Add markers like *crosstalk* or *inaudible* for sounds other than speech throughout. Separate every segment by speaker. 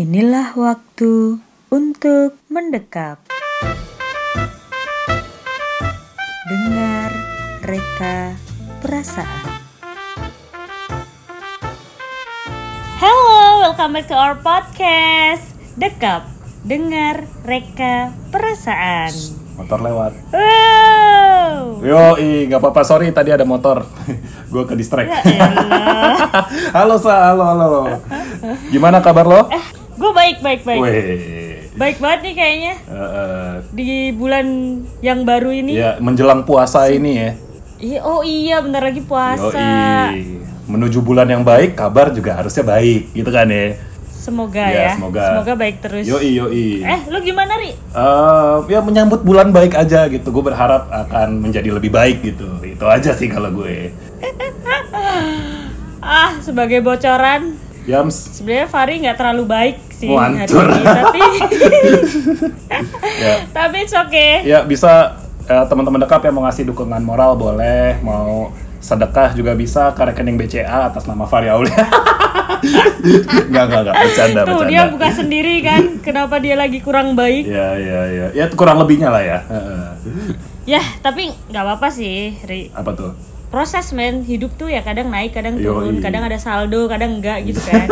Speaker 1: Inilah waktu untuk mendekap. Dengar reka perasaan. Hello, welcome back to our podcast. Dekap, dengar reka perasaan.
Speaker 2: Motor lewat.
Speaker 1: Wow.
Speaker 2: Yo, nggak apa-apa. Sorry tadi ada motor. *laughs* Gue ke distract.
Speaker 1: Ya elah.
Speaker 2: *laughs* halo sa, halo halo. Gimana kabar lo?
Speaker 1: Gue baik, baik, Eh, baik.
Speaker 2: Weh.
Speaker 1: Baik banget nih kayaknya
Speaker 2: Eh, eh,
Speaker 1: di bulan yang baru ini.
Speaker 2: ya menjelang puasa ini ya.
Speaker 1: Iya, oh iya, bentar lagi puasa.
Speaker 2: Yoi. Menuju bulan yang baik, kabar juga harusnya baik, gitu kan ya.
Speaker 1: Semoga ya.
Speaker 2: Ya, semoga.
Speaker 1: baik terus.
Speaker 2: Yoi yoi.
Speaker 1: Eh, lu gimana, Ri?
Speaker 2: Eh, ya menyambut bulan baik aja gitu. Gue berharap akan menjadi lebih baik gitu. Itu aja sih kalau gue.
Speaker 1: Ah, sebagai bocoran,
Speaker 2: Yams.
Speaker 1: sebenarnya Fari nggak terlalu baik sih
Speaker 2: Wantur.
Speaker 1: hari ini, tapi *laughs*
Speaker 2: Ya.
Speaker 1: tapi it's okay.
Speaker 2: Ya bisa eh, teman-teman dekap yang mau ngasih dukungan moral boleh, mau sedekah juga bisa ke rekening BCA atas nama Fahri Aulia. *laughs* Enggak enggak enggak bercanda
Speaker 1: Tuh
Speaker 2: bercanda.
Speaker 1: dia buka sendiri kan, kenapa dia lagi kurang baik?
Speaker 2: Ya ya ya. Ya kurang lebihnya lah ya. Heeh. Iya.
Speaker 1: Yah, Ya, tapi nggak apa-apa sih, Ri.
Speaker 2: Apa tuh?
Speaker 1: Proses men, hidup tuh ya kadang naik, kadang turun,
Speaker 2: Yoi.
Speaker 1: kadang ada saldo, kadang enggak
Speaker 2: *laughs*
Speaker 1: gitu kan.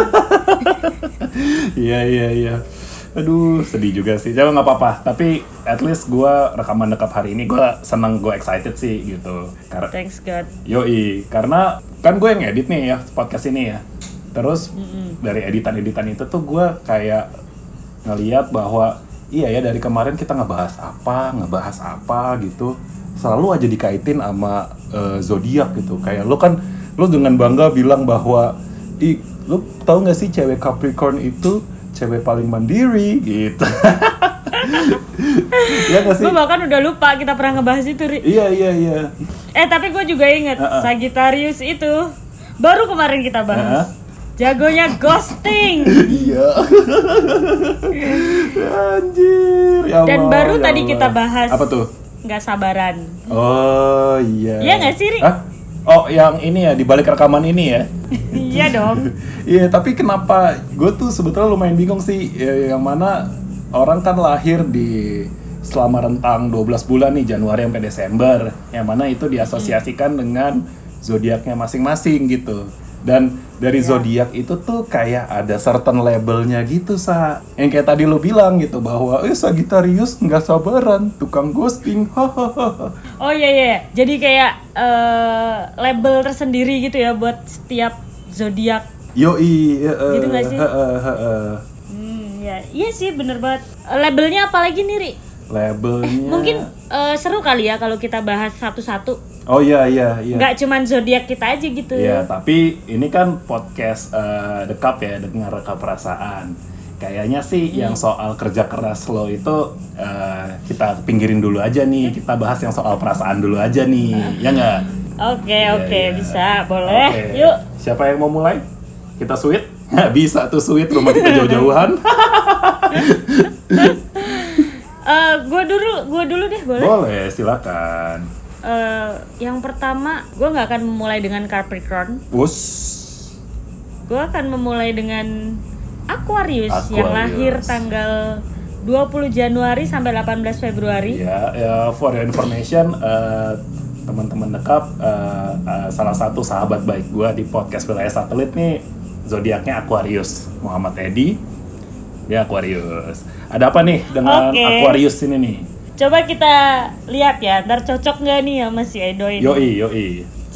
Speaker 2: Iya iya iya. Aduh, sedih juga sih. Jangan nggak apa-apa. Tapi at least gua rekaman dekap hari ini gua seneng, gua excited sih gitu. Karena
Speaker 1: Thanks God.
Speaker 2: Yoi, karena kan gue yang edit nih ya podcast ini ya. Terus dari editan-editan itu tuh gue kayak ngeliat bahwa iya ya dari kemarin kita ngebahas apa, ngebahas apa gitu. Selalu aja dikaitin sama eh, zodiak gitu. Kayak lo kan lo dengan bangga bilang bahwa ih lo tau gak sih cewek Capricorn itu cewek paling mandiri gitu. *laughs* Iya gak sih?
Speaker 1: Gue bahkan udah lupa kita pernah ngebahas itu, Ri.
Speaker 2: Iya iya iya.
Speaker 1: Eh tapi gue juga inget
Speaker 2: Heeh.
Speaker 1: Sagittarius itu baru kemarin kita
Speaker 2: Heeh.
Speaker 1: bahas. Jagonya ghosting
Speaker 2: Iya. *laughs* Anjir. Ya
Speaker 1: Dan
Speaker 2: Allah,
Speaker 1: baru
Speaker 2: ya
Speaker 1: tadi
Speaker 2: Allah.
Speaker 1: kita bahas.
Speaker 2: Apa tuh?
Speaker 1: nggak sabaran.
Speaker 2: *laughs* Oh iya.
Speaker 1: Iya nggak sih, Rik?
Speaker 2: Hah? Oh yang ini ya di balik rekaman ini ya.
Speaker 1: iya dong.
Speaker 2: Iya tapi kenapa gue tuh sebetulnya lumayan bingung sih Ya, yang mana orang kan lahir di selama rentang 12 bulan nih Januari sampai Desember yang mana itu diasosiasikan
Speaker 1: Hmm.
Speaker 2: dengan zodiaknya masing-masing gitu dan dari
Speaker 1: Iya.
Speaker 2: zodiak itu tuh kayak ada certain labelnya gitu sa yang kayak tadi lo bilang gitu bahwa eh Sagittarius nggak sabaran tukang ghosting *laughs* hahaha
Speaker 1: Oh iya iya. Jadi kayak eh, label tersendiri gitu ya buat setiap zodiak.
Speaker 2: yoi eh, eh,
Speaker 1: Gitu nggak sih?
Speaker 2: eh, eh, eh, eh.
Speaker 1: Hmm, ya. Iya sih bener banget. Eh, Labelnya apa lagi nih, Ri?
Speaker 2: Iya. labelnya
Speaker 1: Mungkin eh, seru kali ya kalau kita bahas satu-satu.
Speaker 2: oh iya iya iya
Speaker 1: Nggak cuman zodiak kita aja gitu.
Speaker 2: Iya, tapi ini kan podcast eh, dekap ya dengan reka perasaan. Kayaknya sih
Speaker 1: Iya.
Speaker 2: yang soal kerja keras lo itu eh, kita pinggirin dulu aja nih. Kita bahas yang soal perasaan dulu aja nih. Ya nggak?
Speaker 1: Oke,
Speaker 2: Iya,
Speaker 1: oke,
Speaker 2: iya.
Speaker 1: bisa. Boleh.
Speaker 2: Oke.
Speaker 1: Yuk.
Speaker 2: Siapa yang mau mulai? Kita sweet? *laughs* Bisa tuh sweet rumah kita jauh-jauhan.
Speaker 1: Eh, gue dulu, gue dulu deh boleh.
Speaker 2: Boleh, silakan.
Speaker 1: Eh, yang pertama, gue nggak akan memulai dengan Capricorn.
Speaker 2: Bus.
Speaker 1: Gue akan memulai dengan Aquarius,
Speaker 2: Aquarius.
Speaker 1: yang lahir tanggal 20 Januari sampai 18 Februari.
Speaker 2: Ya, ya, for your information, eh, teman-teman dekap, eh, eh, salah satu sahabat baik gua di podcast wilayah satelit nih zodiaknya Aquarius, Muhammad Edi, dia Aquarius. Ada apa nih dengan
Speaker 1: Oke.
Speaker 2: Aquarius ini nih?
Speaker 1: Coba kita lihat ya, ntar cocok nggak nih sama si Edo ini.
Speaker 2: Yoi, yoi.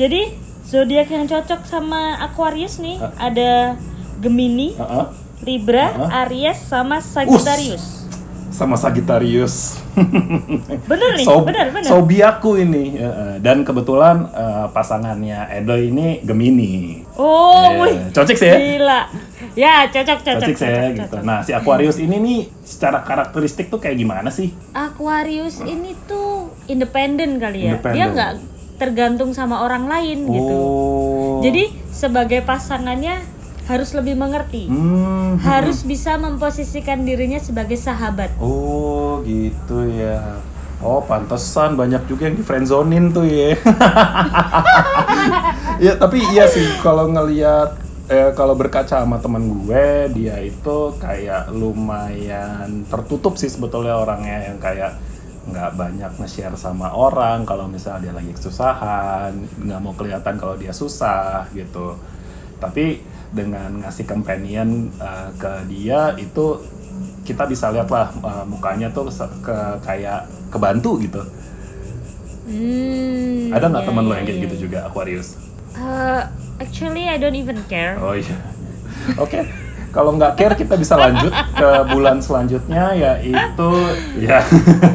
Speaker 1: Jadi zodiak yang cocok sama Aquarius nih
Speaker 2: Ah.
Speaker 1: ada Gemini,
Speaker 2: Heeh.
Speaker 1: Libra,
Speaker 2: Hah?
Speaker 1: Aries, sama Sagittarius.
Speaker 2: Sama Sagittarius.
Speaker 1: Bener nih,
Speaker 2: Sob-
Speaker 1: bener bener.
Speaker 2: Sobiaku ini. Heeh. Dan kebetulan eh, pasangannya Edo ini Gemini.
Speaker 1: Oh,
Speaker 2: Iya.
Speaker 1: wih.
Speaker 2: Cocok sih ya?
Speaker 1: Gila. Ya, cocok, cocok,
Speaker 2: Cocok saya
Speaker 1: cocok,
Speaker 2: gitu.
Speaker 1: cocok.
Speaker 2: Nah, si Aquarius ini nih secara karakteristik tuh kayak gimana sih?
Speaker 1: Aquarius ini tuh independen kali ya. Dia
Speaker 2: Independen.
Speaker 1: nggak tergantung sama orang lain gitu.
Speaker 2: Oh.
Speaker 1: Jadi sebagai pasangannya harus lebih mengerti,
Speaker 2: Hmm.
Speaker 1: harus bisa memposisikan dirinya sebagai sahabat.
Speaker 2: Oh, gitu ya. Oh, pantesan banyak juga yang di *laughs* friendzonin tuh ya. ya, tapi iya sih kalau ngelihat eh, kalau berkaca sama teman gue dia itu kayak lumayan tertutup sih sebetulnya orangnya yang kayak nggak banyak nge-share sama orang kalau misalnya dia lagi kesusahan nggak mau kelihatan kalau dia susah gitu tapi dengan ngasih companion eh, ke dia itu kita bisa lihat lah eh, mukanya tuh se- ke kayak kebantu gitu
Speaker 1: Hmm,
Speaker 2: ada nggak
Speaker 1: ya,
Speaker 2: teman lo
Speaker 1: ya,
Speaker 2: yang kayak
Speaker 1: ya.
Speaker 2: gitu juga Aquarius
Speaker 1: Eh, actually I don't even care.
Speaker 2: Oh iya. *laughs* Oke. Kalau nggak care kita bisa lanjut ke bulan selanjutnya yaitu ya.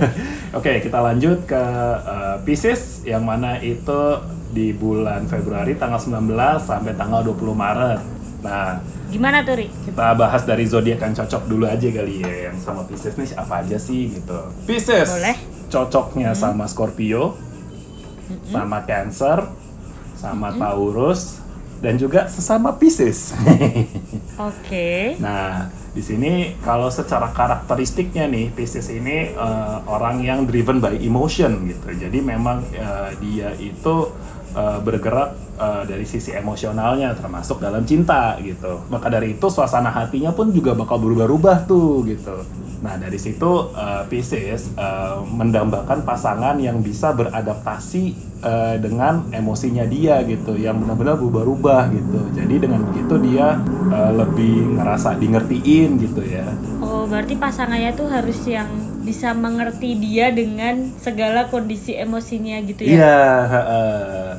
Speaker 2: *laughs* Oke, kita lanjut ke eh, Pisces yang mana itu di bulan Februari tanggal 19 sampai tanggal 20 Maret. Nah,
Speaker 1: Gimana tuh, Ri?
Speaker 2: kita bahas dari zodiak yang cocok dulu aja kali ya yang sama Pisces nih apa aja sih gitu. Pisces.
Speaker 1: Boleh.
Speaker 2: Cocoknya sama Scorpio, sama Cancer, sama Taurus dan juga sesama Pisces. *laughs*
Speaker 1: Oke.
Speaker 2: Nah, di sini kalau secara karakteristiknya nih Pisces ini eh, orang yang driven by emotion gitu. Jadi memang eh, dia itu eh, bergerak eh, dari sisi emosionalnya termasuk dalam cinta gitu. Maka dari itu suasana hatinya pun juga bakal berubah-ubah tuh gitu. Nah, dari situ eh, Pisces eh, mendambakan pasangan yang bisa beradaptasi eh, dengan emosinya dia gitu, yang benar-benar berubah-ubah gitu. Jadi dengan begitu dia eh, lebih ngerasa dingertiin gitu ya.
Speaker 1: Oh, berarti pasangannya tuh harus yang bisa mengerti dia dengan segala kondisi emosinya gitu ya.
Speaker 2: Iya, heeh.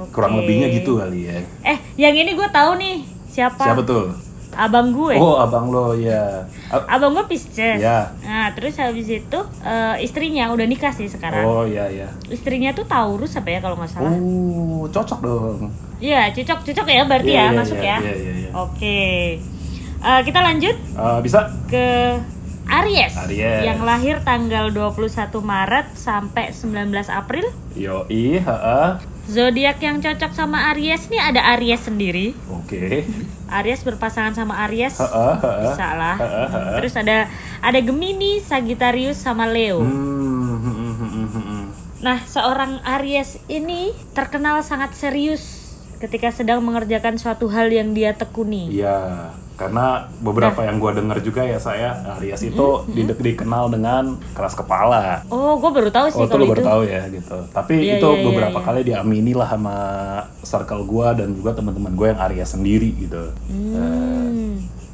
Speaker 1: Oke.
Speaker 2: kurang lebihnya gitu kali ya.
Speaker 1: Eh, yang ini gue tahu nih. Siapa?
Speaker 2: Siapa tuh?
Speaker 1: Abang gue.
Speaker 2: Oh, abang lo ya. A-
Speaker 1: Abang gue Pisces.
Speaker 2: Iya.
Speaker 1: Nah, terus habis itu eh, istrinya udah nikah sih sekarang.
Speaker 2: Oh, ya ya.
Speaker 1: Istrinya tuh Taurus apa ya kalau nggak salah?
Speaker 2: Oh, cocok dong.
Speaker 1: Iya, cocok-cocok ya berarti
Speaker 2: Iya,
Speaker 1: ya
Speaker 2: iya,
Speaker 1: masuk
Speaker 2: iya,
Speaker 1: ya.
Speaker 2: iya, iya, iya.
Speaker 1: Oke. Eh, kita lanjut
Speaker 2: Eh, bisa?
Speaker 1: ke Aries,
Speaker 2: Aries.
Speaker 1: yang lahir tanggal 21 Maret sampai 19 April.
Speaker 2: Yoi, heeh.
Speaker 1: Zodiak yang cocok sama Aries nih ada Aries sendiri.
Speaker 2: Oke.
Speaker 1: Aries berpasangan sama Aries.
Speaker 2: Heeh, heeh.
Speaker 1: Bisa lah.
Speaker 2: Heeh, heeh.
Speaker 1: Terus ada ada Gemini, Sagittarius sama Leo.
Speaker 2: Hmm, hmm, hmm, hmm, hmm, hmm.
Speaker 1: Nah, seorang Aries ini terkenal sangat serius ketika sedang mengerjakan suatu hal yang dia tekuni.
Speaker 2: Iya,
Speaker 1: Nah.
Speaker 2: karena beberapa yang gua dengar juga ya saya Aries itu
Speaker 1: Hmm,
Speaker 2: di- dikenal dengan keras kepala.
Speaker 1: Oh, gue baru tahu sih
Speaker 2: Oh, itu
Speaker 1: kalau
Speaker 2: lu baru
Speaker 1: itu.
Speaker 2: tahu ya gitu. Tapi
Speaker 1: Iya,
Speaker 2: itu
Speaker 1: iya, iya,
Speaker 2: beberapa
Speaker 1: iya.
Speaker 2: kali diamini lah sama circle gua dan juga teman-teman gue yang Aries sendiri gitu.
Speaker 1: Hmm.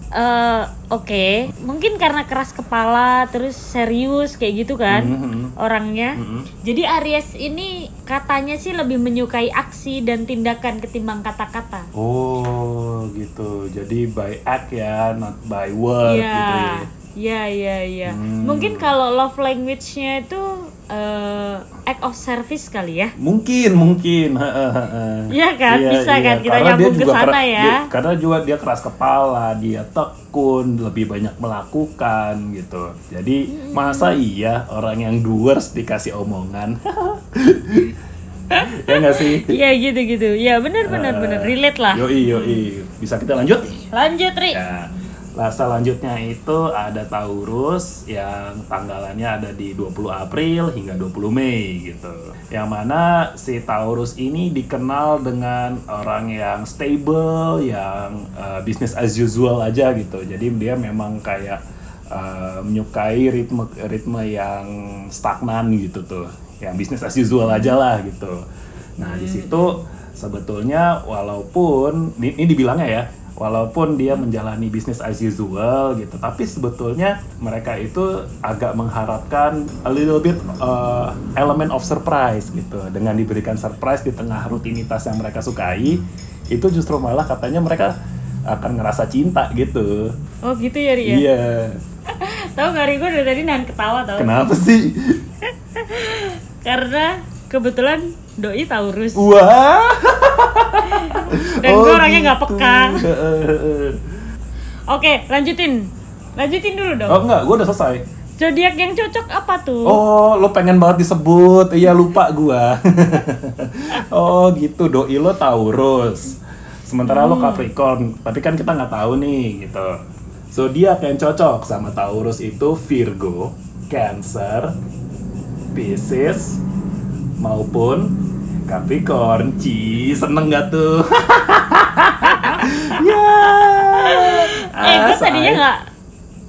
Speaker 1: Eh, Oke, mungkin karena keras kepala, terus serius kayak gitu kan
Speaker 2: Mhm.
Speaker 1: orangnya. Jadi Aries ini katanya sih lebih menyukai aksi dan tindakan ketimbang kata-kata.
Speaker 2: Oh, gitu. Jadi by act ya, not by word gitu ya. Hmm.
Speaker 1: Iya, iya, iya, iya. Mungkin kalau love language-nya itu eh, act of service kali ya.
Speaker 2: Mungkin, mungkin. *laughs* Heeh.
Speaker 1: Iya kan? Bisa kan? Kita
Speaker 2: Karena dia
Speaker 1: nyambung ke
Speaker 2: juga
Speaker 1: sana
Speaker 2: kera-
Speaker 1: ya.
Speaker 2: dia- karena juga dia keras kepala, dia tekun, lebih banyak melakukan gitu. Jadi
Speaker 1: Hmm.
Speaker 2: masa iya orang yang doers dikasih omongan? *laughs* ya nggak sih?
Speaker 1: Iya gitu-gitu. Ya benar benar
Speaker 2: Eh,
Speaker 1: benar relate lah.
Speaker 2: Yoi, yoi. Bisa kita lanjut?
Speaker 1: Lanjut, Ri.
Speaker 2: Ya. Lah selanjutnya itu ada Taurus yang tanggalannya ada di 20 April hingga 20 Mei gitu. Yang mana si Taurus ini dikenal dengan orang yang stable, yang eh, business as usual aja gitu. Jadi dia memang kayak eh, menyukai ritme ritme yang stagnan gitu tuh. Yang business as usual aja lah gitu. Nah, di situ sebetulnya walaupun ini, ini dibilangnya ya walaupun dia menjalani bisnis as usual gitu tapi sebetulnya mereka itu agak mengharapkan a little bit uh, element of surprise gitu dengan diberikan surprise di tengah rutinitas yang mereka sukai itu justru malah katanya mereka akan ngerasa cinta gitu
Speaker 1: Oh, gitu ya, Ri ya.
Speaker 2: iya
Speaker 1: Tahu nggak Ri gue dari tadi nahan ketawa tau.
Speaker 2: kenapa sih
Speaker 1: Karena kebetulan doi Taurus.
Speaker 2: Oh, wah
Speaker 1: Dan gue orangnya nggak
Speaker 2: gitu.
Speaker 1: peka. Oke, lanjutin. Lanjutin dulu dong.
Speaker 2: oh enggak gue udah selesai
Speaker 1: Zodiak yang cocok apa tuh?
Speaker 2: Oh, lo pengen banget disebut. Iya, lupa gua. *laughs* oh, gitu. Doi lo Taurus. Sementara
Speaker 1: Hmm.
Speaker 2: lo Capricorn, tapi kan kita nggak tahu nih gitu. Zodiak yang cocok sama Taurus itu Virgo, Cancer, Pisces maupun Capricorn. Ci, seneng gak tuh? *laughs* ya.
Speaker 1: eh gue tadinya
Speaker 2: say.
Speaker 1: nggak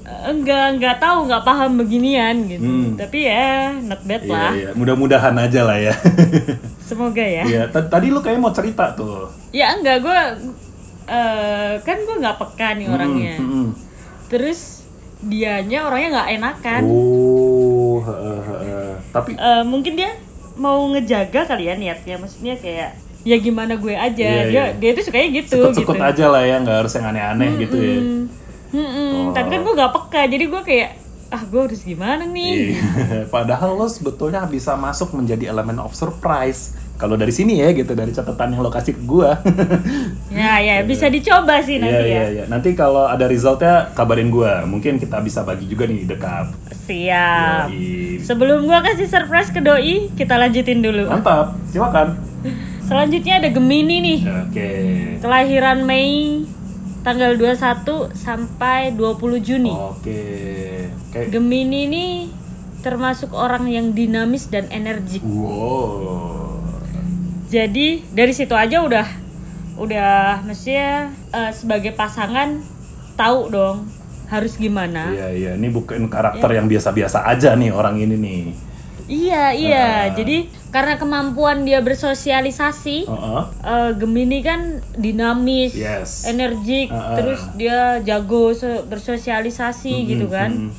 Speaker 1: eh, nggak nggak tahu nggak paham beginian gitu
Speaker 2: Hmm.
Speaker 1: tapi ya not bad
Speaker 2: Iya,
Speaker 1: lah
Speaker 2: iya. mudah-mudahan aja lah ya. *laughs*
Speaker 1: semoga ya
Speaker 2: Iya, ta- tadi lu kayaknya mau cerita tuh.
Speaker 1: ya enggak gue kan gue nggak peka nih orangnya
Speaker 2: Mm-mm.
Speaker 1: terus dianya orangnya nggak enakan
Speaker 2: Oh, heeh, heeh. tapi
Speaker 1: Eh, mungkin dia mau ngejaga kali ya niatnya maksudnya kayak ya gimana gue aja
Speaker 2: Iya,
Speaker 1: dia
Speaker 2: iya.
Speaker 1: dia tuh sukanya gitu
Speaker 2: sekut-sekut
Speaker 1: gitu
Speaker 2: aja lah ya, nggak harus yang aneh-aneh gitu ya. Oh.
Speaker 1: Mm-mm, tapi kan gue nggak peka jadi gue kayak ah gue harus gimana nih
Speaker 2: Iya. *laughs* Padahal lo sebetulnya bisa masuk menjadi elemen of surprise. Kalau dari sini ya gitu dari catatan yang lo kasih ke gua.
Speaker 1: ya ya bisa dicoba sih
Speaker 2: *laughs* Iya
Speaker 1: nanti
Speaker 2: iya
Speaker 1: ya
Speaker 2: iya. Nanti kalau ada resultnya kabarin gua. Mungkin kita bisa bagi juga nih dekap.
Speaker 1: siap
Speaker 2: Iya.
Speaker 1: sebelum gue kasih surprise ke doi kita lanjutin dulu
Speaker 2: Mantap. Silakan.
Speaker 1: selanjutnya ada gemini nih
Speaker 2: Oke.
Speaker 1: kelahiran Mei tanggal 21 sampai 20 Juni
Speaker 2: Oke. Oke.
Speaker 1: Gemini ini termasuk orang yang dinamis dan energik
Speaker 2: Wow.
Speaker 1: jadi dari situ aja udah udah maksudnya eh, sebagai pasangan tahu dong harus gimana
Speaker 2: Iya iya. Ini bukan karakter yang biasa-biasa aja nih orang ini nih.
Speaker 1: iya iya
Speaker 2: Ah.
Speaker 1: jadi karena kemampuan dia bersosialisasi
Speaker 2: Heeh.
Speaker 1: eh, Gemini kan dinamis
Speaker 2: Yes.
Speaker 1: energik
Speaker 2: Ah, ah.
Speaker 1: terus dia jago se- bersosialisasi gitu kan
Speaker 2: mhm.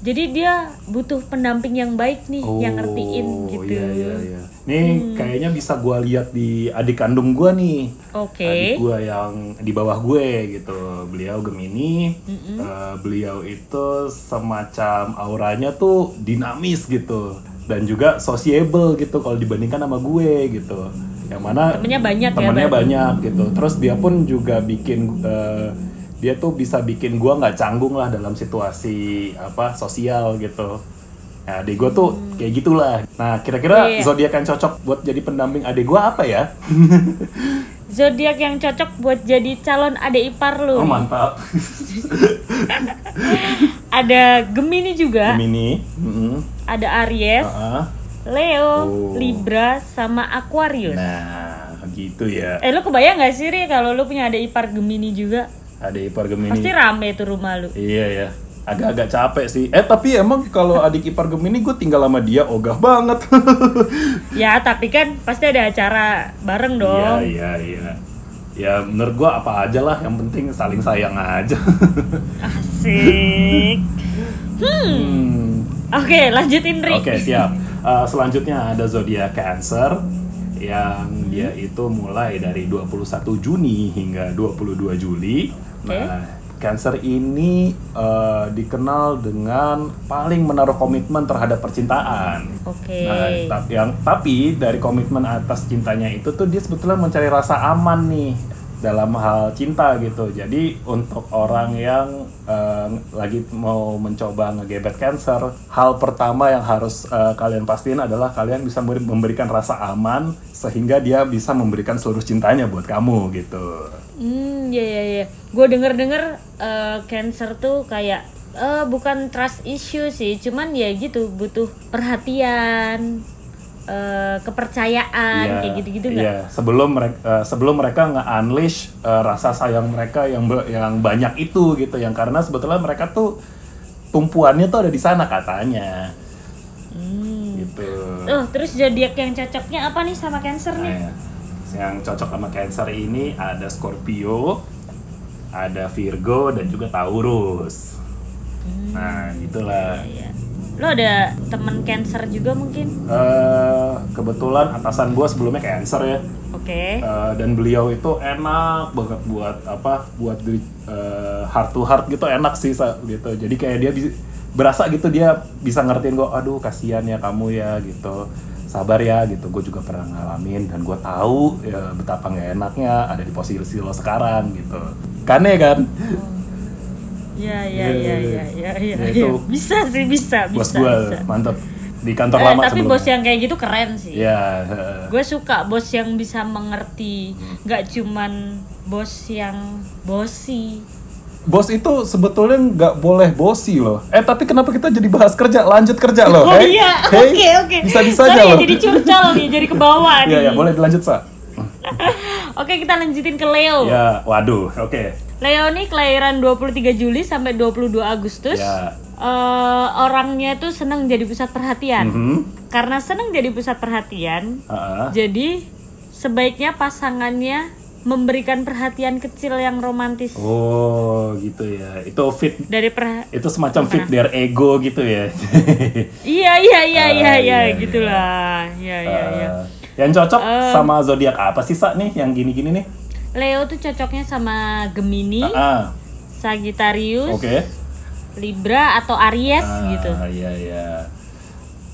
Speaker 1: jadi dia butuh pendamping yang baik nih yang ngertiin
Speaker 2: Oh,
Speaker 1: gitu Hmm.
Speaker 2: Iya iya iya. Nih kayaknya bisa gua lihat di adik kandung gua nih.
Speaker 1: oke
Speaker 2: adik gue yang di bawah gue gitu beliau gemini Eh, beliau itu semacam auranya tuh dinamis gitu dan juga sociable gitu kalau dibandingkan sama gue gitu yang mana
Speaker 1: Temennya banyak ya,
Speaker 2: temennya
Speaker 1: berarti.
Speaker 2: banyak gitu terus dia pun juga bikin eh, dia tuh bisa bikin gue nggak canggung lah dalam situasi apa sosial gitu Nah, adik gue tuh kayak gitulah. Nah, kira-kira
Speaker 1: Hmm. Iya.
Speaker 2: zodiak yang cocok buat jadi pendamping adik gue apa ya?
Speaker 1: zodiak yang cocok buat jadi calon adik ipar lu *laughs*
Speaker 2: Oh, mantap.
Speaker 1: ada Gemini juga
Speaker 2: Gemini. Mm-mm.
Speaker 1: ada Aries
Speaker 2: Ah.
Speaker 1: Leo
Speaker 2: Oh.
Speaker 1: Libra sama Aquarius
Speaker 2: Nah, gitu ya.
Speaker 1: eh lu kebayang gak sih Ri kalau lu punya adik ipar Gemini juga
Speaker 2: Ada ipar Gemini.
Speaker 1: pasti rame tuh rumah lu
Speaker 2: Iya ya. Agak-agak capek sih. Eh, tapi emang kalau adik ipar Gemini gue tinggal sama dia ogah banget. *laughs*
Speaker 1: ya tapi kan pasti ada acara bareng
Speaker 2: Iya,
Speaker 1: dong
Speaker 2: iya, iya. Ya menurut gue apa aja lah, yang penting saling sayang aja.
Speaker 1: asik
Speaker 2: Hmm.
Speaker 1: oke lanjutin Ri
Speaker 2: *laughs* Oke siap. Eh, selanjutnya ada zodiak Cancer
Speaker 1: Hmm.
Speaker 2: yang dia itu mulai dari 21 Juni hingga 22 Juli.
Speaker 1: Oke.
Speaker 2: Nah, Cancer ini eh, dikenal dengan paling menaruh komitmen terhadap percintaan.
Speaker 1: Oke.
Speaker 2: Nah, ta- yang tapi dari komitmen atas cintanya itu tuh dia sebetulnya mencari rasa aman nih dalam hal cinta gitu. Jadi untuk orang yang eh, lagi mau mencoba ngegebet cancer, hal pertama yang harus eh, kalian pastiin adalah kalian bisa memberi- memberikan rasa aman sehingga dia bisa memberikan seluruh cintanya buat kamu gitu.
Speaker 1: Hmm, ya ya ya. Gue denger dengar cancer tuh kayak eh bukan trust issue sih, cuman ya gitu butuh perhatian, eh kepercayaan
Speaker 2: Iya,
Speaker 1: kayak gitu-gitu
Speaker 2: iya.
Speaker 1: nggak?
Speaker 2: sebelum mereka sebelum mereka nge-unleash eh, rasa sayang mereka yang be- yang banyak itu gitu yang karena sebetulnya mereka tuh tumpuannya tuh ada di sana katanya. Gitu.
Speaker 1: Hmm. Oh, terus zodiak yang cocoknya apa nih sama cancer
Speaker 2: Nah,
Speaker 1: nih?
Speaker 2: ya. yang cocok sama Cancer ini ada Scorpio, ada Virgo dan juga Taurus.
Speaker 1: Hmm.
Speaker 2: Nah, itulah.
Speaker 1: Iya. Lo ada temen cancer juga mungkin?
Speaker 2: Eh, kebetulan atasan gua sebelumnya Cancer ya.
Speaker 1: Oke.
Speaker 2: Uh, dan beliau itu enak banget buat apa buat diri, uh, heart to heart gitu enak sih Sa, gitu jadi kayak dia bis- berasa gitu dia bisa ngertiin gue aduh kasihan ya kamu ya gitu sabar ya gitu gue juga pernah ngalamin dan gue tahu ya, betapa nggak enaknya ada di posisi lo sekarang gitu kan ya kan
Speaker 1: Iya iya
Speaker 2: iya,
Speaker 1: iya
Speaker 2: iya.
Speaker 1: iya iya iya.
Speaker 2: Ya, itu
Speaker 1: iya. *laughs* Bisa sih bisa
Speaker 2: bos
Speaker 1: Oh, bisa.
Speaker 2: gue
Speaker 1: bisa.
Speaker 2: mantep di kantor
Speaker 1: Eh,
Speaker 2: lama
Speaker 1: tapi
Speaker 2: sebelumnya.
Speaker 1: bos yang kayak gitu keren sih.
Speaker 2: ya eh,
Speaker 1: gue suka bos yang bisa mengerti
Speaker 2: Hmm.
Speaker 1: nggak cuman bos yang bosi
Speaker 2: bos itu sebetulnya nggak boleh bosi loh eh tapi kenapa kita jadi bahas kerja lanjut kerja loh
Speaker 1: oh
Speaker 2: Hey,
Speaker 1: iya
Speaker 2: hey,
Speaker 1: oke oke
Speaker 2: bisa bisa
Speaker 1: Sorry
Speaker 2: aja
Speaker 1: ya,
Speaker 2: loh
Speaker 1: jadi curcol nih jadi ke
Speaker 2: *laughs*
Speaker 1: bawah nih
Speaker 2: Iya, ya, boleh dilanjut, Sa. Iya.
Speaker 1: oke kita lanjutin ke Leo
Speaker 2: Ya, waduh, oke.
Speaker 1: Leoni kelahiran 23 Juli sampai 22 Agustus.
Speaker 2: Ya.
Speaker 1: Eh, orangnya tuh seneng jadi pusat perhatian.
Speaker 2: Mhm.
Speaker 1: Karena seneng jadi pusat perhatian,
Speaker 2: Ah, ah.
Speaker 1: jadi sebaiknya pasangannya memberikan perhatian kecil yang romantis
Speaker 2: Oh, gitu ya. Itu fit
Speaker 1: dari per
Speaker 2: itu semacam fit their ego gitu ya.
Speaker 1: Iya iya iya
Speaker 2: Ah,
Speaker 1: iya iya
Speaker 2: iya,
Speaker 1: gitulah. Iya iya iya. Eh.
Speaker 2: Ah, *laughs* Yang cocok sama zodiak apa sih Sa nih yang gini-gini nih?
Speaker 1: Leo tuh cocoknya sama Gemini,
Speaker 2: Ah,
Speaker 1: Sagittarius,
Speaker 2: oke.
Speaker 1: Libra atau Aries
Speaker 2: Ah, *laughs*
Speaker 1: gitu.
Speaker 2: Iya iya.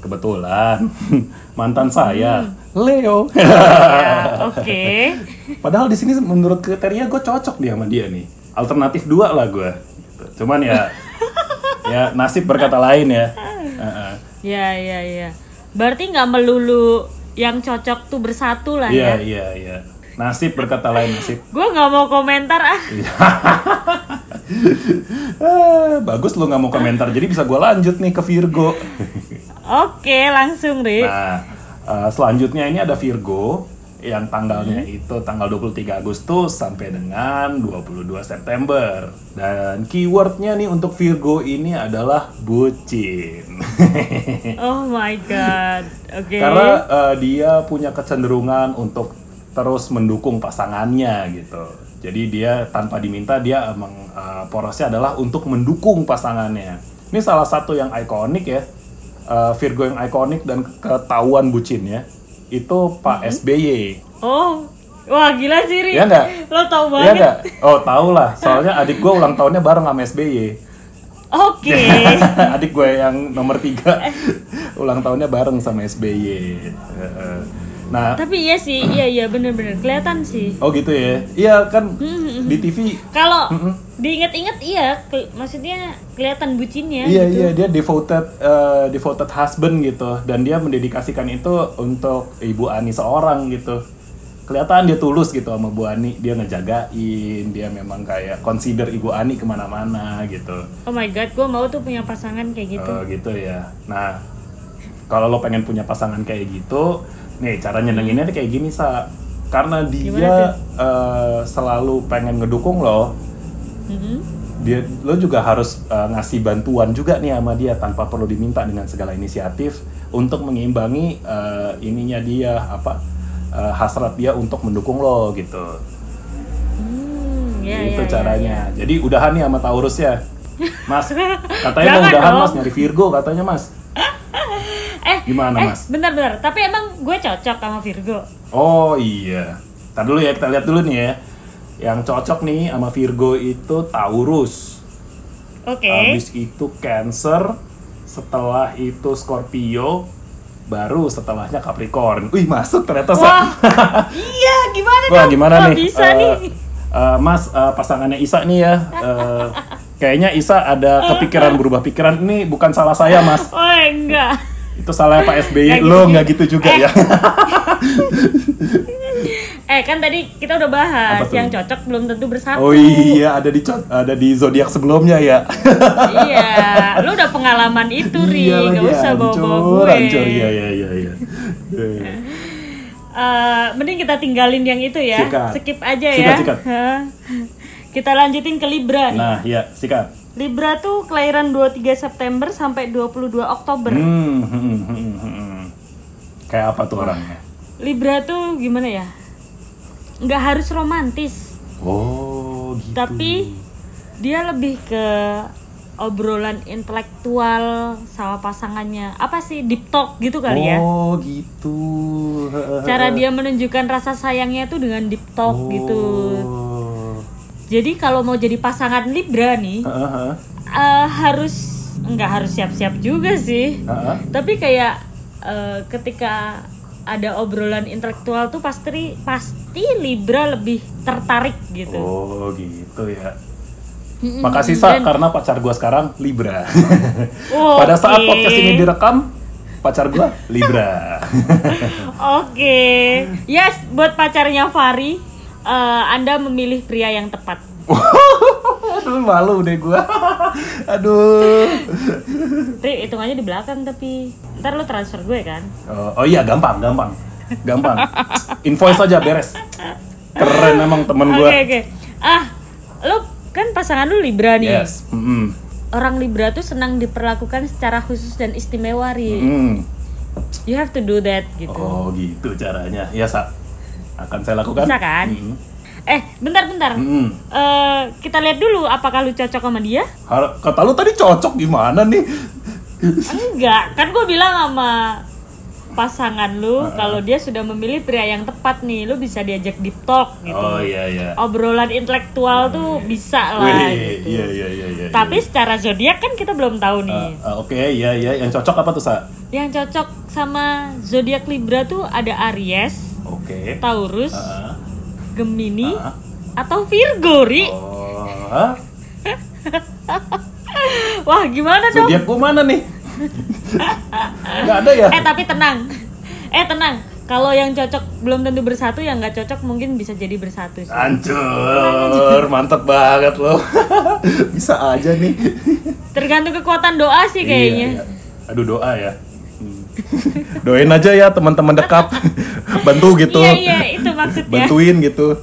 Speaker 2: Kebetulan *laughs* mantan
Speaker 1: Hmm.
Speaker 2: saya Leo.
Speaker 1: Ya, Oke.
Speaker 2: Padahal di sini menurut kriteria gue cocok dia sama dia nih. Alternatif dua lah gue. Gitu. Cuman
Speaker 1: *laughs*
Speaker 2: ya ya nasib berkata lain ya. Heeh.
Speaker 1: Ya ya ya. Berarti nggak melulu yang cocok tuh bersatu lah ya.
Speaker 2: Iya iya iya. Nasib berkata lain nasib.
Speaker 1: Gue nggak mau komentar ah.
Speaker 2: Ah, bagus lo nggak mau komentar jadi bisa gue lanjut nih ke Virgo.
Speaker 1: Oke langsung Ri.
Speaker 2: Nah eh, selanjutnya ini ada Virgo yang tanggalnya
Speaker 1: Hmm.
Speaker 2: itu tanggal 23 Agustus sampai dengan 22 September dan keywordnya nih untuk Virgo ini adalah bucin. *laughs*
Speaker 1: Oh my god. Oke.
Speaker 2: Karena eh, dia punya kecenderungan untuk terus mendukung pasangannya gitu. Jadi dia tanpa diminta dia emang eh, porosnya adalah untuk mendukung pasangannya. Ini salah satu yang ikonik ya. Eh, Virgo yang ikonik dan ketahuan bucinnya itu
Speaker 1: Hmm.
Speaker 2: Pak SBY.
Speaker 1: Oh. Wah gila sih Ri.
Speaker 2: Iya nggak?
Speaker 1: Lo tau
Speaker 2: Iya
Speaker 1: banget.
Speaker 2: nggak? Oh tau lah, soalnya adik gue ulang tahunnya bareng sama SBY.
Speaker 1: Oke.
Speaker 2: *laughs* adik gue yang nomor tiga
Speaker 1: Eh.
Speaker 2: ulang tahunnya bareng sama SBY. Heeh. Nah
Speaker 1: Tapi iya sih, iya iya bener-bener kelihatan sih.
Speaker 2: Oh gitu ya? Iya kan di TV
Speaker 1: Kalau diinget-inget iya, ke- maksudnya kelihatan bucinnya. gitu.
Speaker 2: iya iya dia devoted eh, devoted husband gitu dan dia mendedikasikan itu untuk Ibu Ani seorang gitu. Kelihatan dia tulus gitu sama Bu Ani, dia ngejagain, dia memang kayak consider Ibu Ani kemana-mana gitu.
Speaker 1: Oh my god, gue mau tuh punya pasangan kayak gitu.
Speaker 2: Oh, gitu ya. Nah, kalau lo pengen punya pasangan kayak gitu, nih cara nyenenginnya tuh kayak gini sa. Karena dia eh, selalu pengen ngedukung lo.
Speaker 1: Mm-hmm.
Speaker 2: Dia lo juga harus eh, ngasih bantuan juga nih sama dia tanpa perlu diminta dengan segala inisiatif untuk mengimbangi eh, ininya dia apa eh, hasrat dia untuk mendukung lo gitu.
Speaker 1: Hmm, ya, ya,
Speaker 2: itu
Speaker 1: ya,
Speaker 2: gitu caranya.
Speaker 1: ya.
Speaker 2: Jadi udahan nih sama Taurus ya. Mas, katanya mau
Speaker 1: Jangan
Speaker 2: udahan
Speaker 1: dong.
Speaker 2: Mas nyari Virgo katanya Mas.
Speaker 1: Eh,
Speaker 2: Gimana,
Speaker 1: eh,
Speaker 2: Mas?
Speaker 1: bentar-bentar. Tapi emang gue cocok sama Virgo.
Speaker 2: Oh iya. Tar dulu ya kita lihat dulu nih ya. Yang cocok nih sama Virgo itu Taurus.
Speaker 1: Oke.
Speaker 2: Habis
Speaker 1: Eh?
Speaker 2: itu Cancer, setelah itu Scorpio, baru setelahnya Capricorn. Wih, masuk ternyata Sa.
Speaker 1: Wah, *laughs* iya gimana
Speaker 2: Wah,
Speaker 1: dong?
Speaker 2: gimana
Speaker 1: Wah,
Speaker 2: nih?
Speaker 1: Bisa
Speaker 2: Eh,
Speaker 1: nih.
Speaker 2: eh, mas eh, pasangannya Isa nih ya. Eh, kayaknya Isa ada kepikiran berubah pikiran. Ini bukan salah saya, Mas.
Speaker 1: Oh enggak.
Speaker 2: Itu salah Pak SBY.
Speaker 1: Nggak
Speaker 2: Lo
Speaker 1: gitu
Speaker 2: nggak gitu juga
Speaker 1: Eh.
Speaker 2: ya. *laughs*
Speaker 1: Eh kan tadi kita udah bahas
Speaker 2: Apa tuh?
Speaker 1: yang cocok belum tentu bersatu.
Speaker 2: Oh iya, ada di co- ada di zodiak sebelumnya ya.
Speaker 1: iya, lu udah pengalaman itu ri,
Speaker 2: Iya
Speaker 1: nggak
Speaker 2: lagi,
Speaker 1: usah bawa-bawa
Speaker 2: hancur,
Speaker 1: gue.
Speaker 2: hancur. Iya, iya, iya, iya. Iya.
Speaker 1: Eh, mending kita tinggalin yang itu ya,
Speaker 2: Sikat.
Speaker 1: skip aja ya.
Speaker 2: Sikat, sikat.
Speaker 1: Hah. Kita lanjutin ke Libra. nih.
Speaker 2: Nah, ya, sikat.
Speaker 1: Libra tuh kelahiran 23 September sampai 22 Oktober.
Speaker 2: Hmm, hmm, hmm, hmm. Kayak apa tuh orangnya?
Speaker 1: Libra tuh gimana ya? Nggak harus romantis,
Speaker 2: Oh, gitu.
Speaker 1: tapi dia lebih ke obrolan intelektual sama pasangannya. Apa sih deep talk gitu kali ya?
Speaker 2: Oh, gitu.
Speaker 1: Cara dia menunjukkan rasa sayangnya tuh dengan deep talk gitu.
Speaker 2: Oh.
Speaker 1: Jadi kalau mau jadi pasangan Libra nih,
Speaker 2: Heeh, heeh.
Speaker 1: eh, harus nggak harus siap-siap juga sih.
Speaker 2: Heeh.
Speaker 1: Tapi kayak eh, ketika ada obrolan intelektual tuh pasti pasti Libra lebih tertarik gitu.
Speaker 2: Oh, gitu ya.
Speaker 1: Mm-mm.
Speaker 2: Makasih Sa karena pacar gua sekarang Libra.
Speaker 1: Oh, Oke.
Speaker 2: Pada saat podcast ini direkam, pacar gua
Speaker 1: *laughs*
Speaker 2: Libra.
Speaker 1: Oke. Yes, buat pacarnya Fari, eh, Anda memilih pria yang tepat.
Speaker 2: Aduh, malu deh gua. Aduh.
Speaker 1: Ri, hitungannya di belakang tapi ntar lu transfer gue kan?
Speaker 2: Oh, oh iya gampang, gampang. Gampang. Invoice aja beres. Keren emang temen
Speaker 1: Oke
Speaker 2: gue.
Speaker 1: oke. Ah, lu kan pasangan lu Libra nih.
Speaker 2: Yes. Mm-mm.
Speaker 1: Orang Libra tuh senang diperlakukan secara khusus dan istimewa, Ri.
Speaker 2: Mm.
Speaker 1: You have to do that gitu.
Speaker 2: Oh gitu caranya. Ya sa. Akan saya lakukan.
Speaker 1: Bisa kan?
Speaker 2: Mm-mm.
Speaker 1: Eh, bentar-bentar.
Speaker 2: Mm-mm.
Speaker 1: Eh, kita lihat dulu apakah lu cocok sama
Speaker 2: *laughs*
Speaker 1: dia?
Speaker 2: Har- Kata lu tadi cocok gimana nih?
Speaker 1: Enggak, kan gue bilang sama pasangan
Speaker 2: Ah,
Speaker 1: lu kalau dia sudah memilih pria yang tepat nih, lu bisa diajak deep talk gitu.
Speaker 2: Oh iya iya.
Speaker 1: Obrolan intelektual tuh bisa lah.
Speaker 2: Wih,
Speaker 1: gitu.
Speaker 2: iya iya iya iya.
Speaker 1: Tapi secara zodiak kan kita belum tahu nih.
Speaker 2: Ah, ah, Oke, iya iya. Yang cocok apa tuh, Sa?
Speaker 1: Yang cocok sama zodiak Libra tuh ada Aries,
Speaker 2: Oke.
Speaker 1: Taurus,
Speaker 2: Ah,
Speaker 1: Gemini,
Speaker 2: ah.
Speaker 1: atau Virgo, Ri.
Speaker 2: Oh, hah?
Speaker 1: Wah, gimana dong?
Speaker 2: Zodiak gua mana nih? *laughs* Gak ada ya?
Speaker 1: Eh, tapi tenang. Eh, tenang. Kalau yang cocok belum tentu bersatu, yang nggak cocok mungkin bisa jadi bersatu sih.
Speaker 2: Hancur, mantep banget lo. *laughs* Bisa aja nih.
Speaker 1: Tergantung kekuatan doa sih
Speaker 2: Iya,
Speaker 1: kayaknya.
Speaker 2: iya. Aduh doa ya. Hmm. Doain aja ya teman-teman dekat. *laughs* Bantu gitu.
Speaker 1: Iya, iya, itu maksudnya.
Speaker 2: Bantuin
Speaker 1: *laughs*
Speaker 2: gitu.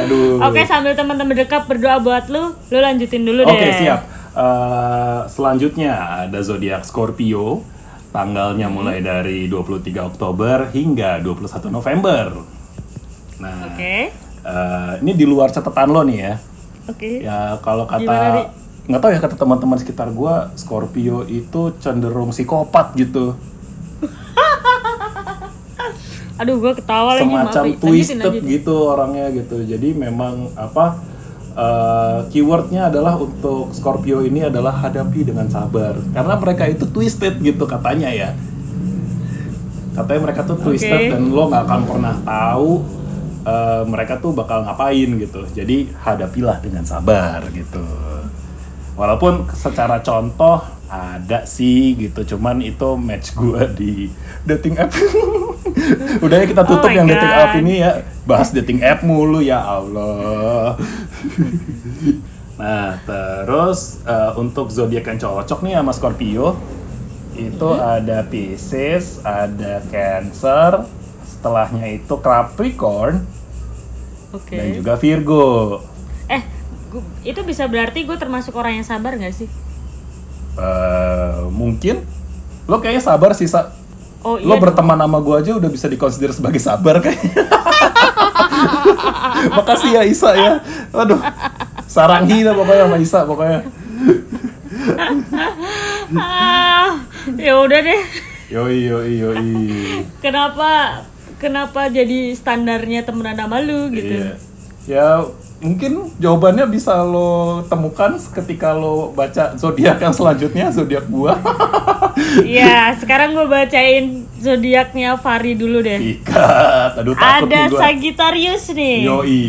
Speaker 2: Aduh.
Speaker 1: Oke, sambil teman-teman dekat berdoa buat lu, lu lanjutin dulu
Speaker 2: Oke,
Speaker 1: deh.
Speaker 2: siap. Eh, selanjutnya ada zodiak Scorpio. Tanggalnya
Speaker 1: Hmm.
Speaker 2: mulai dari 23 Oktober hingga 21 November. Nah,
Speaker 1: Oke.
Speaker 2: eh, ini di luar catatan lo nih ya.
Speaker 1: Oke.
Speaker 2: Ya kalau
Speaker 1: Gimana, Ri?
Speaker 2: kata nggak tahu ya kata teman-teman sekitar gua, Scorpio itu cenderung psikopat gitu.
Speaker 1: Aduh, gua ketawa lagi maaf.
Speaker 2: semacam
Speaker 1: Ri. Lanjutin,
Speaker 2: twisted
Speaker 1: lanjutin.
Speaker 2: gitu orangnya gitu jadi memang apa uh, keywordnya adalah untuk Scorpio ini adalah hadapi dengan sabar karena mereka itu twisted gitu katanya ya katanya mereka tuh
Speaker 1: Oke.
Speaker 2: twisted dan lo nggak akan pernah tahu uh, mereka tuh bakal ngapain gitu jadi hadapilah dengan sabar gitu walaupun secara contoh ada sih gitu cuman itu match gua di dating app *laughs* udah ya kita tutup
Speaker 1: Oh my
Speaker 2: yang dating app
Speaker 1: God.
Speaker 2: ini ya bahas dating app mulu ya Allah *laughs* nah terus eh, untuk zodiak yang cocok nih sama Scorpio itu
Speaker 1: Hmm?
Speaker 2: ada Pisces ada Cancer setelahnya itu Capricorn
Speaker 1: Oke.
Speaker 2: dan juga Virgo
Speaker 1: Eh, gua- itu bisa berarti gue termasuk orang yang sabar nggak sih?
Speaker 2: Eh, mungkin lo kayaknya sabar sih Sa.
Speaker 1: Oh
Speaker 2: lo
Speaker 1: iya.
Speaker 2: berteman sama gue aja udah bisa dikonsider sebagai sabar kayaknya *laughs* makasih ya Isa ya aduh sarangi lah pokoknya sama Isa pokoknya
Speaker 1: Ah, ya udah deh.
Speaker 2: yoi yoi yoi
Speaker 1: Kenapa kenapa jadi standarnya temenan sama lu gitu?
Speaker 2: Iya. ya mungkin jawabannya bisa lo temukan ketika lo baca zodiak yang selanjutnya zodiak gua
Speaker 1: Iya, sekarang gue bacain zodiaknya Fari dulu deh.
Speaker 2: *laughs* ikat aduh takut nih
Speaker 1: Ada
Speaker 2: gua
Speaker 1: Sagittarius nih.
Speaker 2: yoi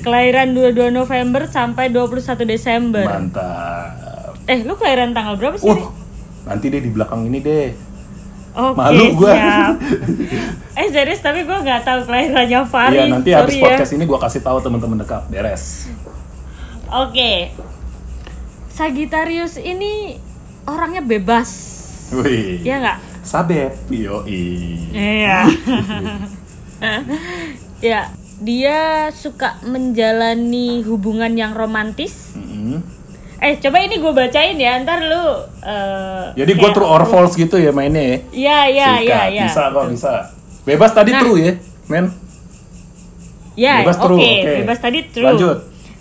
Speaker 1: Kelahiran 22 November sampai 21 Desember.
Speaker 2: mantap
Speaker 1: Eh, lu kelahiran tanggal berapa sih?
Speaker 2: uh
Speaker 1: Ri?
Speaker 2: nanti deh di belakang ini deh
Speaker 1: Oke,
Speaker 2: malu gua.
Speaker 1: siap.
Speaker 2: *laughs*
Speaker 1: eh, serius tapi gue nggak tahu kelahirannya Fari.
Speaker 2: Iya nanti
Speaker 1: Sorry
Speaker 2: habis
Speaker 1: ya.
Speaker 2: podcast ini gua kasih tahu teman-teman dekat beres
Speaker 1: Oke. Sagittarius ini orangnya bebas.
Speaker 2: Wih.
Speaker 1: Iya nggak?
Speaker 2: Sabep. Yoi. *laughs*
Speaker 1: Iya. ya, dia suka menjalani hubungan yang romantis.
Speaker 2: Mm-mm.
Speaker 1: Eh, coba ini gue bacain ya, ntar lu eh,
Speaker 2: Jadi gue
Speaker 1: kayak-
Speaker 2: true or false gitu ya mainnya ya.
Speaker 1: Iya, iya, iya,
Speaker 2: Sikat.
Speaker 1: iya.
Speaker 2: Bisa kok bisa. Bebas tadi
Speaker 1: Nah.
Speaker 2: true ya, men.
Speaker 1: Ya,
Speaker 2: Bebas
Speaker 1: oke,
Speaker 2: true, oke.
Speaker 1: bebas tadi true.
Speaker 2: Lanjut.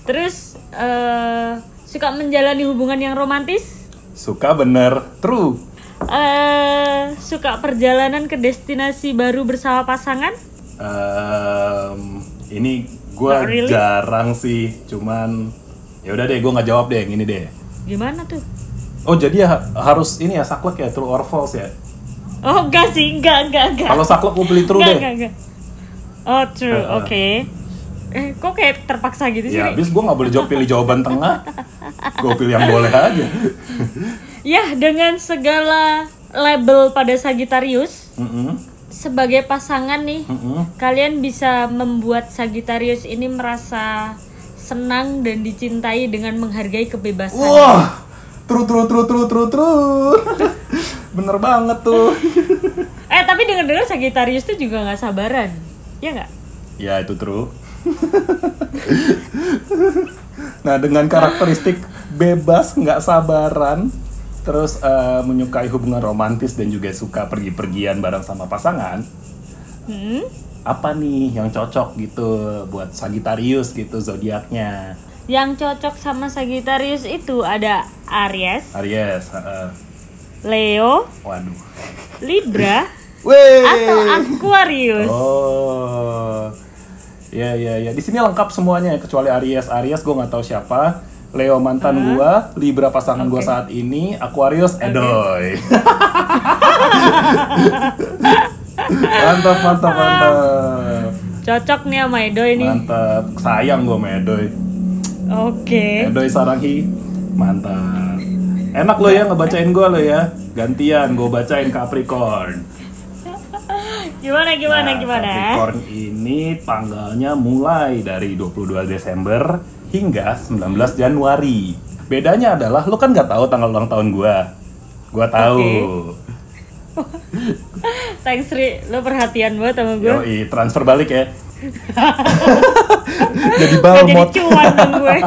Speaker 1: Terus eh suka menjalani hubungan yang romantis,
Speaker 2: Suka bener true.
Speaker 1: eh suka perjalanan ke destinasi baru bersama pasangan.
Speaker 2: Ehm, ini gue
Speaker 1: Not really.
Speaker 2: jarang sih, cuman ya udah deh gue nggak jawab deh yang ini deh.
Speaker 1: Gimana tuh?
Speaker 2: Oh jadi ya ha- harus ini ya saklek ya true or false ya.
Speaker 1: Oh, enggak sih, enggak, enggak, enggak.
Speaker 2: Kalau saklek gue beli true
Speaker 1: enggak,
Speaker 2: deh.
Speaker 1: enggak, enggak. Oh, true.
Speaker 2: Heeh.
Speaker 1: Oke. Eh, kok kayak terpaksa gitu sih? Ri?
Speaker 2: Ya habis gue nggak boleh jawab pilih jawaban tengah. Gue pilih yang boleh aja.
Speaker 1: Yah, Ya, dengan segala label pada Sagittarius
Speaker 2: Mm-mm,
Speaker 1: sebagai pasangan nih,
Speaker 2: mm-mm.
Speaker 1: kalian bisa membuat Sagittarius ini merasa senang dan dicintai dengan menghargai kebebasan.
Speaker 2: Wah, true true true true true true. Bener banget tuh.
Speaker 1: Eh, tapi dengar-dengar Sagittarius tuh juga nggak sabaran. Ya nggak?
Speaker 2: ya itu true. Nah, dengan karakteristik bebas, nggak sabaran, terus eh, menyukai hubungan romantis dan juga suka pergi-pergian bareng sama pasangan,
Speaker 1: Hmm?
Speaker 2: apa nih yang cocok gitu buat Sagittarius gitu zodiaknya?
Speaker 1: Yang cocok sama Sagittarius itu ada Aries,
Speaker 2: Aries, heeh.
Speaker 1: Leo,
Speaker 2: waduh.
Speaker 1: Libra,
Speaker 2: Wey!
Speaker 1: atau Aquarius.
Speaker 2: Oh, ya ya ya. Di sini lengkap semuanya kecuali Aries. Aries gue nggak tahu siapa. Leo mantan gua, Libra pasangan gua
Speaker 1: Oke.
Speaker 2: saat ini, Aquarius
Speaker 1: *laughs*
Speaker 2: edoy. mantap mantap mantap
Speaker 1: Cocok nih sama Edo ini.
Speaker 2: mantap. Sayang gue medoy.
Speaker 1: Oke.
Speaker 2: Edoy Sarangi mantap. Enak lo ya ngebacain gua lo ya. Gantian gue bacain Capricorn.
Speaker 1: Gimana gimana
Speaker 2: Nah,
Speaker 1: gimana?
Speaker 2: Capricorn ini tanggalnya mulai dari 22 Desember hingga 19 Januari. Bedanya adalah lu kan nggak tahu tanggal ulang tahun gua. Gua tahu.
Speaker 1: Thanks Ri, lo perhatian banget sama gue.
Speaker 2: Yoi, transfer balik
Speaker 1: *laughs*
Speaker 2: ya. jadi
Speaker 1: Gak jadi
Speaker 2: balmot. *laughs*
Speaker 1: cuan dong gue.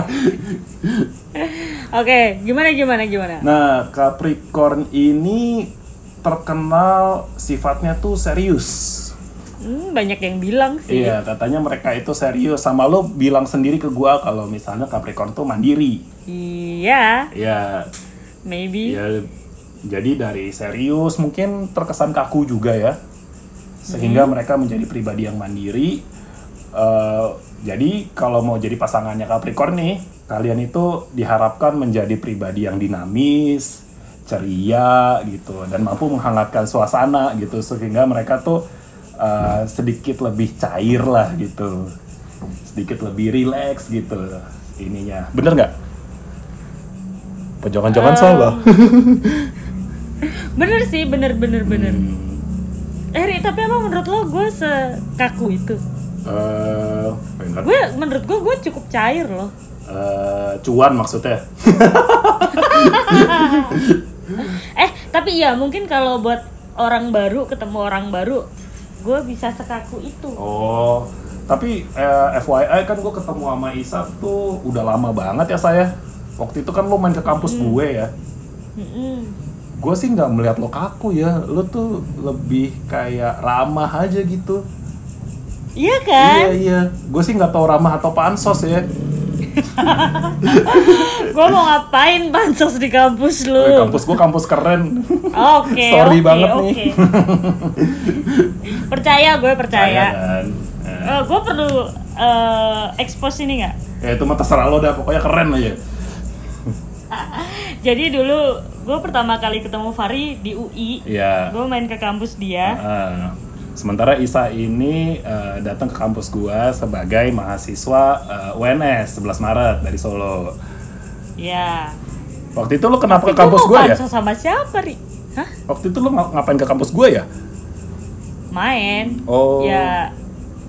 Speaker 1: Oke, gimana gimana gimana?
Speaker 2: Nah, Capricorn ini terkenal sifatnya tuh serius.
Speaker 1: Hmm, banyak yang bilang sih.
Speaker 2: Iya, katanya mereka itu serius sama lo bilang sendiri ke gua kalau misalnya Capricorn tuh mandiri.
Speaker 1: Iya,
Speaker 2: Iya,
Speaker 1: maybe.
Speaker 2: Ya, jadi dari serius mungkin terkesan kaku juga ya, sehingga mereka menjadi pribadi yang mandiri. Eh, jadi kalau mau jadi pasangannya Capricorn nih, kalian itu diharapkan menjadi pribadi yang dinamis, ceria gitu, dan mampu menghangatkan suasana gitu, sehingga mereka tuh eh, sedikit lebih cair lah gitu, sedikit lebih rileks gitu ininya. Bener nggak? Jangan-jangan salah.
Speaker 1: Bener sih, bener bener bener.
Speaker 2: Hmm.
Speaker 1: Eh, Ri, tapi emang menurut lo gue sekaku itu?
Speaker 2: eh bentar.
Speaker 1: Gue menurut gue gue cukup cair loh.
Speaker 2: Eh, cuan maksudnya
Speaker 1: Eh, tapi iya mungkin kalau buat orang baru ketemu orang baru, gue bisa sekaku itu.
Speaker 2: oh tapi eh, FYI kan gue ketemu sama Isa tuh udah lama banget ya saya waktu itu kan lo main ke kampus
Speaker 1: Hmm.
Speaker 2: gue ya
Speaker 1: Mm-mm.
Speaker 2: gue sih nggak melihat lo kaku ya lo tuh lebih kayak ramah aja gitu
Speaker 1: Iya kan?
Speaker 2: iya iya gue sih nggak tahu ramah atau pansos ya
Speaker 1: Gue mau ngapain bansos di kampus lu?
Speaker 2: Eh, iya. kampus gue kampus keren
Speaker 1: Oke,
Speaker 2: *laughs* Sorry
Speaker 1: oke,
Speaker 2: banget
Speaker 1: oke.
Speaker 2: nih. *laughs*
Speaker 1: percaya gue percaya.
Speaker 2: kan Eh,
Speaker 1: Eh, gue perlu eh, expose ini nggak?
Speaker 2: ya itu mah terserah lo dah pokoknya keren aja
Speaker 1: Jadi dulu gue pertama kali ketemu Fari di UI,
Speaker 2: iya
Speaker 1: gue main ke kampus dia.
Speaker 2: Ah, sementara Isa ini eh, datang ke kampus gua sebagai mahasiswa eh, UNS 11 Maret dari Solo.
Speaker 1: Ya.
Speaker 2: Waktu itu lu kenapa
Speaker 1: Tapi
Speaker 2: ke kampus
Speaker 1: mau
Speaker 2: gua ya?
Speaker 1: bansos sama siapa ri? Hah?
Speaker 2: Waktu itu lu nga- ngapain ke kampus gua ya?
Speaker 1: Main.
Speaker 2: Oh. Hmm.
Speaker 1: Ya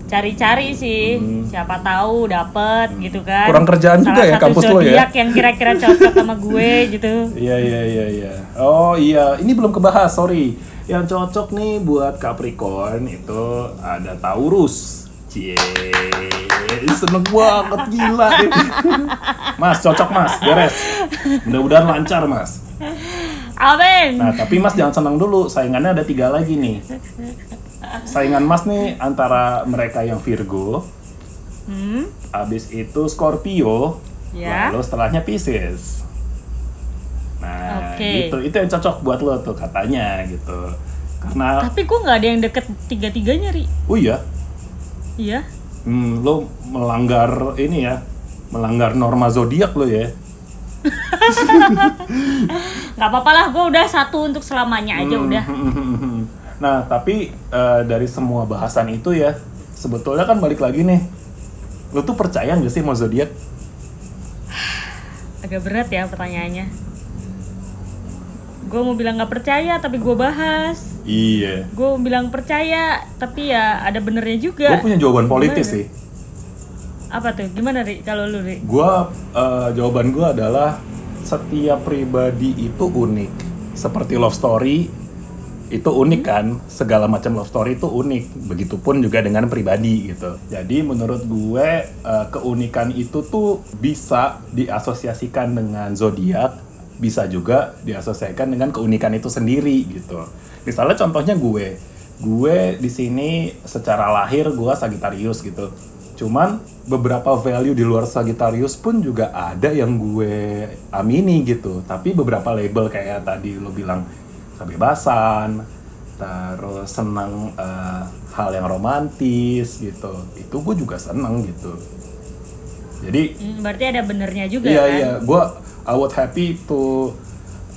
Speaker 1: cari-cari sih, siapa tahu dapet gitu kan.
Speaker 2: Kurang kerjaan
Speaker 1: Salah
Speaker 2: juga ya
Speaker 1: satu
Speaker 2: kampus lo ya?
Speaker 1: zodiak yang kira-kira cocok sama gue
Speaker 2: *laughs*
Speaker 1: gitu.
Speaker 2: Iya iya iya iya. Oh iya, ini belum kebahas, sorry. Yang cocok nih buat Capricorn itu ada Taurus. Cie, seneng banget *laughs* gila. Mas, cocok mas, beres. Mudah-mudahan lancar mas.
Speaker 1: Amin.
Speaker 2: Nah, tapi Mas jangan senang dulu. Saingannya ada tiga lagi nih. Saingan Mas nih antara mereka yang Virgo,
Speaker 1: Hmm.
Speaker 2: abis itu Scorpio,
Speaker 1: Ya.
Speaker 2: lalu setelahnya Pisces. Nah,
Speaker 1: Oke.
Speaker 2: gitu. Itu yang cocok buat lo tuh katanya gitu. Karena,
Speaker 1: Tapi gue nggak ada yang deket tiga-tiganya ri.
Speaker 2: oh iya,
Speaker 1: Iya.
Speaker 2: hmm, lo melanggar ini ya, melanggar norma zodiak lo ya.
Speaker 1: Gak apa-apa lah, gue udah satu untuk selamanya
Speaker 2: Hmm.
Speaker 1: aja udah.
Speaker 2: *laughs* Nah, tapi eh, dari semua bahasan itu ya, sebetulnya kan balik lagi nih. Lu tuh percaya nggak sih sama zodiak?
Speaker 1: Agak berat ya pertanyaannya. Gue mau bilang nggak percaya, tapi gue bahas.
Speaker 2: Iya.
Speaker 1: Gue mau bilang percaya, tapi ya ada benernya juga.
Speaker 2: Gue punya jawaban politis
Speaker 1: Gimana?
Speaker 2: sih.
Speaker 1: Apa tuh? Gimana ri? Kalau lu ri?
Speaker 2: Gue eh, jawaban gue adalah setiap pribadi itu unik. Seperti love story, itu unik kan segala macam love story itu unik begitupun juga dengan pribadi gitu jadi menurut gue eh, keunikan itu tuh bisa diasosiasikan dengan zodiak bisa juga diasosiasikan dengan keunikan itu sendiri gitu misalnya contohnya gue gue di sini secara lahir gue Sagittarius gitu cuman beberapa value di luar Sagittarius pun juga ada yang gue amini gitu tapi beberapa label kayak tadi lo bilang kebebasan terus senang eh, hal yang romantis gitu itu gue juga senang gitu jadi
Speaker 1: Hmm, berarti ada benernya juga
Speaker 2: iya
Speaker 1: kan?
Speaker 2: iya gue I would happy to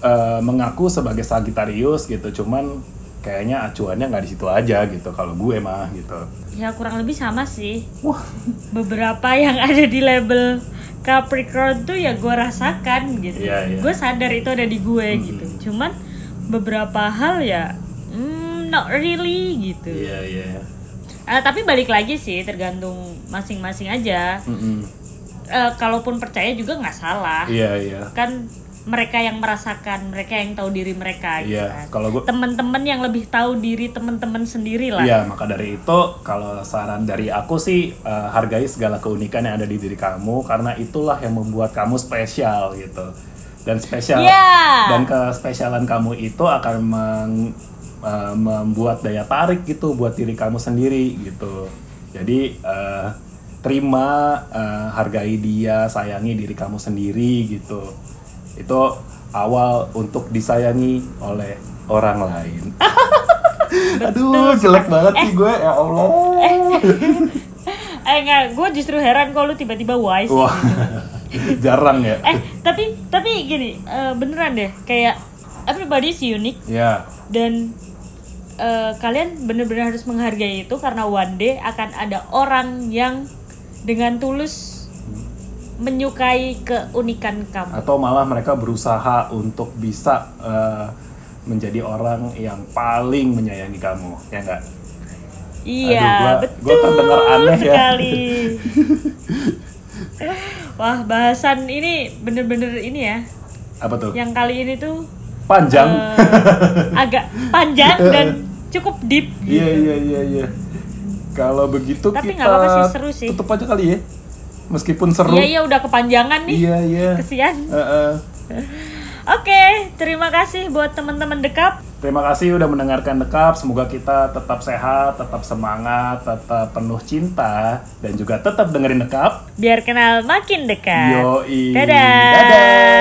Speaker 2: eh, mengaku sebagai Sagittarius gitu cuman kayaknya acuannya nggak di situ aja gitu kalau gue mah gitu
Speaker 1: Ya kurang lebih sama sih.
Speaker 2: wah
Speaker 1: Beberapa yang ada di label Capricorn tuh ya gue rasakan gitu.
Speaker 2: Iya, Hmm. iya.
Speaker 1: Gue sadar itu ada di gue gitu. Cuman beberapa hal ya mm, not really gitu.
Speaker 2: iya iya
Speaker 1: Eh, tapi balik lagi sih tergantung masing-masing aja.
Speaker 2: Mm-mm.
Speaker 1: Eh, kalaupun percaya juga nggak salah.
Speaker 2: iya iya
Speaker 1: Kan mereka yang merasakan, mereka yang tahu diri mereka gitu. kan.
Speaker 2: Iya, kalau gua-
Speaker 1: teman-teman yang lebih tahu diri teman-teman sendiri lah.
Speaker 2: Iya, maka dari itu kalau saran dari aku sih eh, hargai segala keunikan yang ada di diri kamu karena itulah yang membuat kamu spesial gitu. Dan spesial
Speaker 1: Iya.
Speaker 2: dan kespesialan kamu itu akan meng- eh, membuat daya tarik gitu buat diri kamu sendiri gitu. Jadi eh, terima, eh, hargai dia, sayangi diri kamu sendiri gitu. Itu awal untuk disayangi oleh orang lain. Aduh, jelek banget sih gue. Ya Allah.
Speaker 1: Eh enggak, gue justru heran kalau lu tiba-tiba wise.
Speaker 2: Wah. *laughs* Jarang ya.
Speaker 1: Eh tapi tapi gini eh, beneran deh kayak everybody's unique
Speaker 2: Ya.
Speaker 1: dan eh, kalian bener-bener harus menghargai itu karena one day akan ada orang yang dengan tulus menyukai keunikan kamu.
Speaker 2: Atau malah mereka berusaha untuk bisa eh, menjadi orang yang paling menyayangi kamu, ya enggak?
Speaker 1: Iya,
Speaker 2: gua-
Speaker 1: betul
Speaker 2: gua terdengar aneh ya.
Speaker 1: sekali.
Speaker 2: *laughs*
Speaker 1: Wah, bahasan ini bener-bener ini ya.
Speaker 2: Apa tuh?
Speaker 1: Yang kali ini
Speaker 2: *laughs*
Speaker 1: tuh
Speaker 2: Panjang.
Speaker 1: eh, agak panjang dan cukup deep.
Speaker 2: Iya, iya, iya, iya. Kalau begitu
Speaker 1: Tapi
Speaker 2: kita
Speaker 1: nggak apa-apa sih, seru sih.
Speaker 2: tutup aja kali ya. Meskipun seru.
Speaker 1: Iya, iya udah kepanjangan nih.
Speaker 2: Iya, iya.
Speaker 1: Kesian.
Speaker 2: Eh, eh.
Speaker 1: Oke, terima kasih buat teman-teman Dekap.
Speaker 2: Terima kasih udah mendengarkan Dekap. Semoga kita tetap sehat, tetap semangat, tetap penuh cinta, dan juga tetap dengerin Dekap.
Speaker 1: Biar kenal makin dekat.
Speaker 2: Yoi.
Speaker 1: Nah, Dadah.
Speaker 2: Dadah.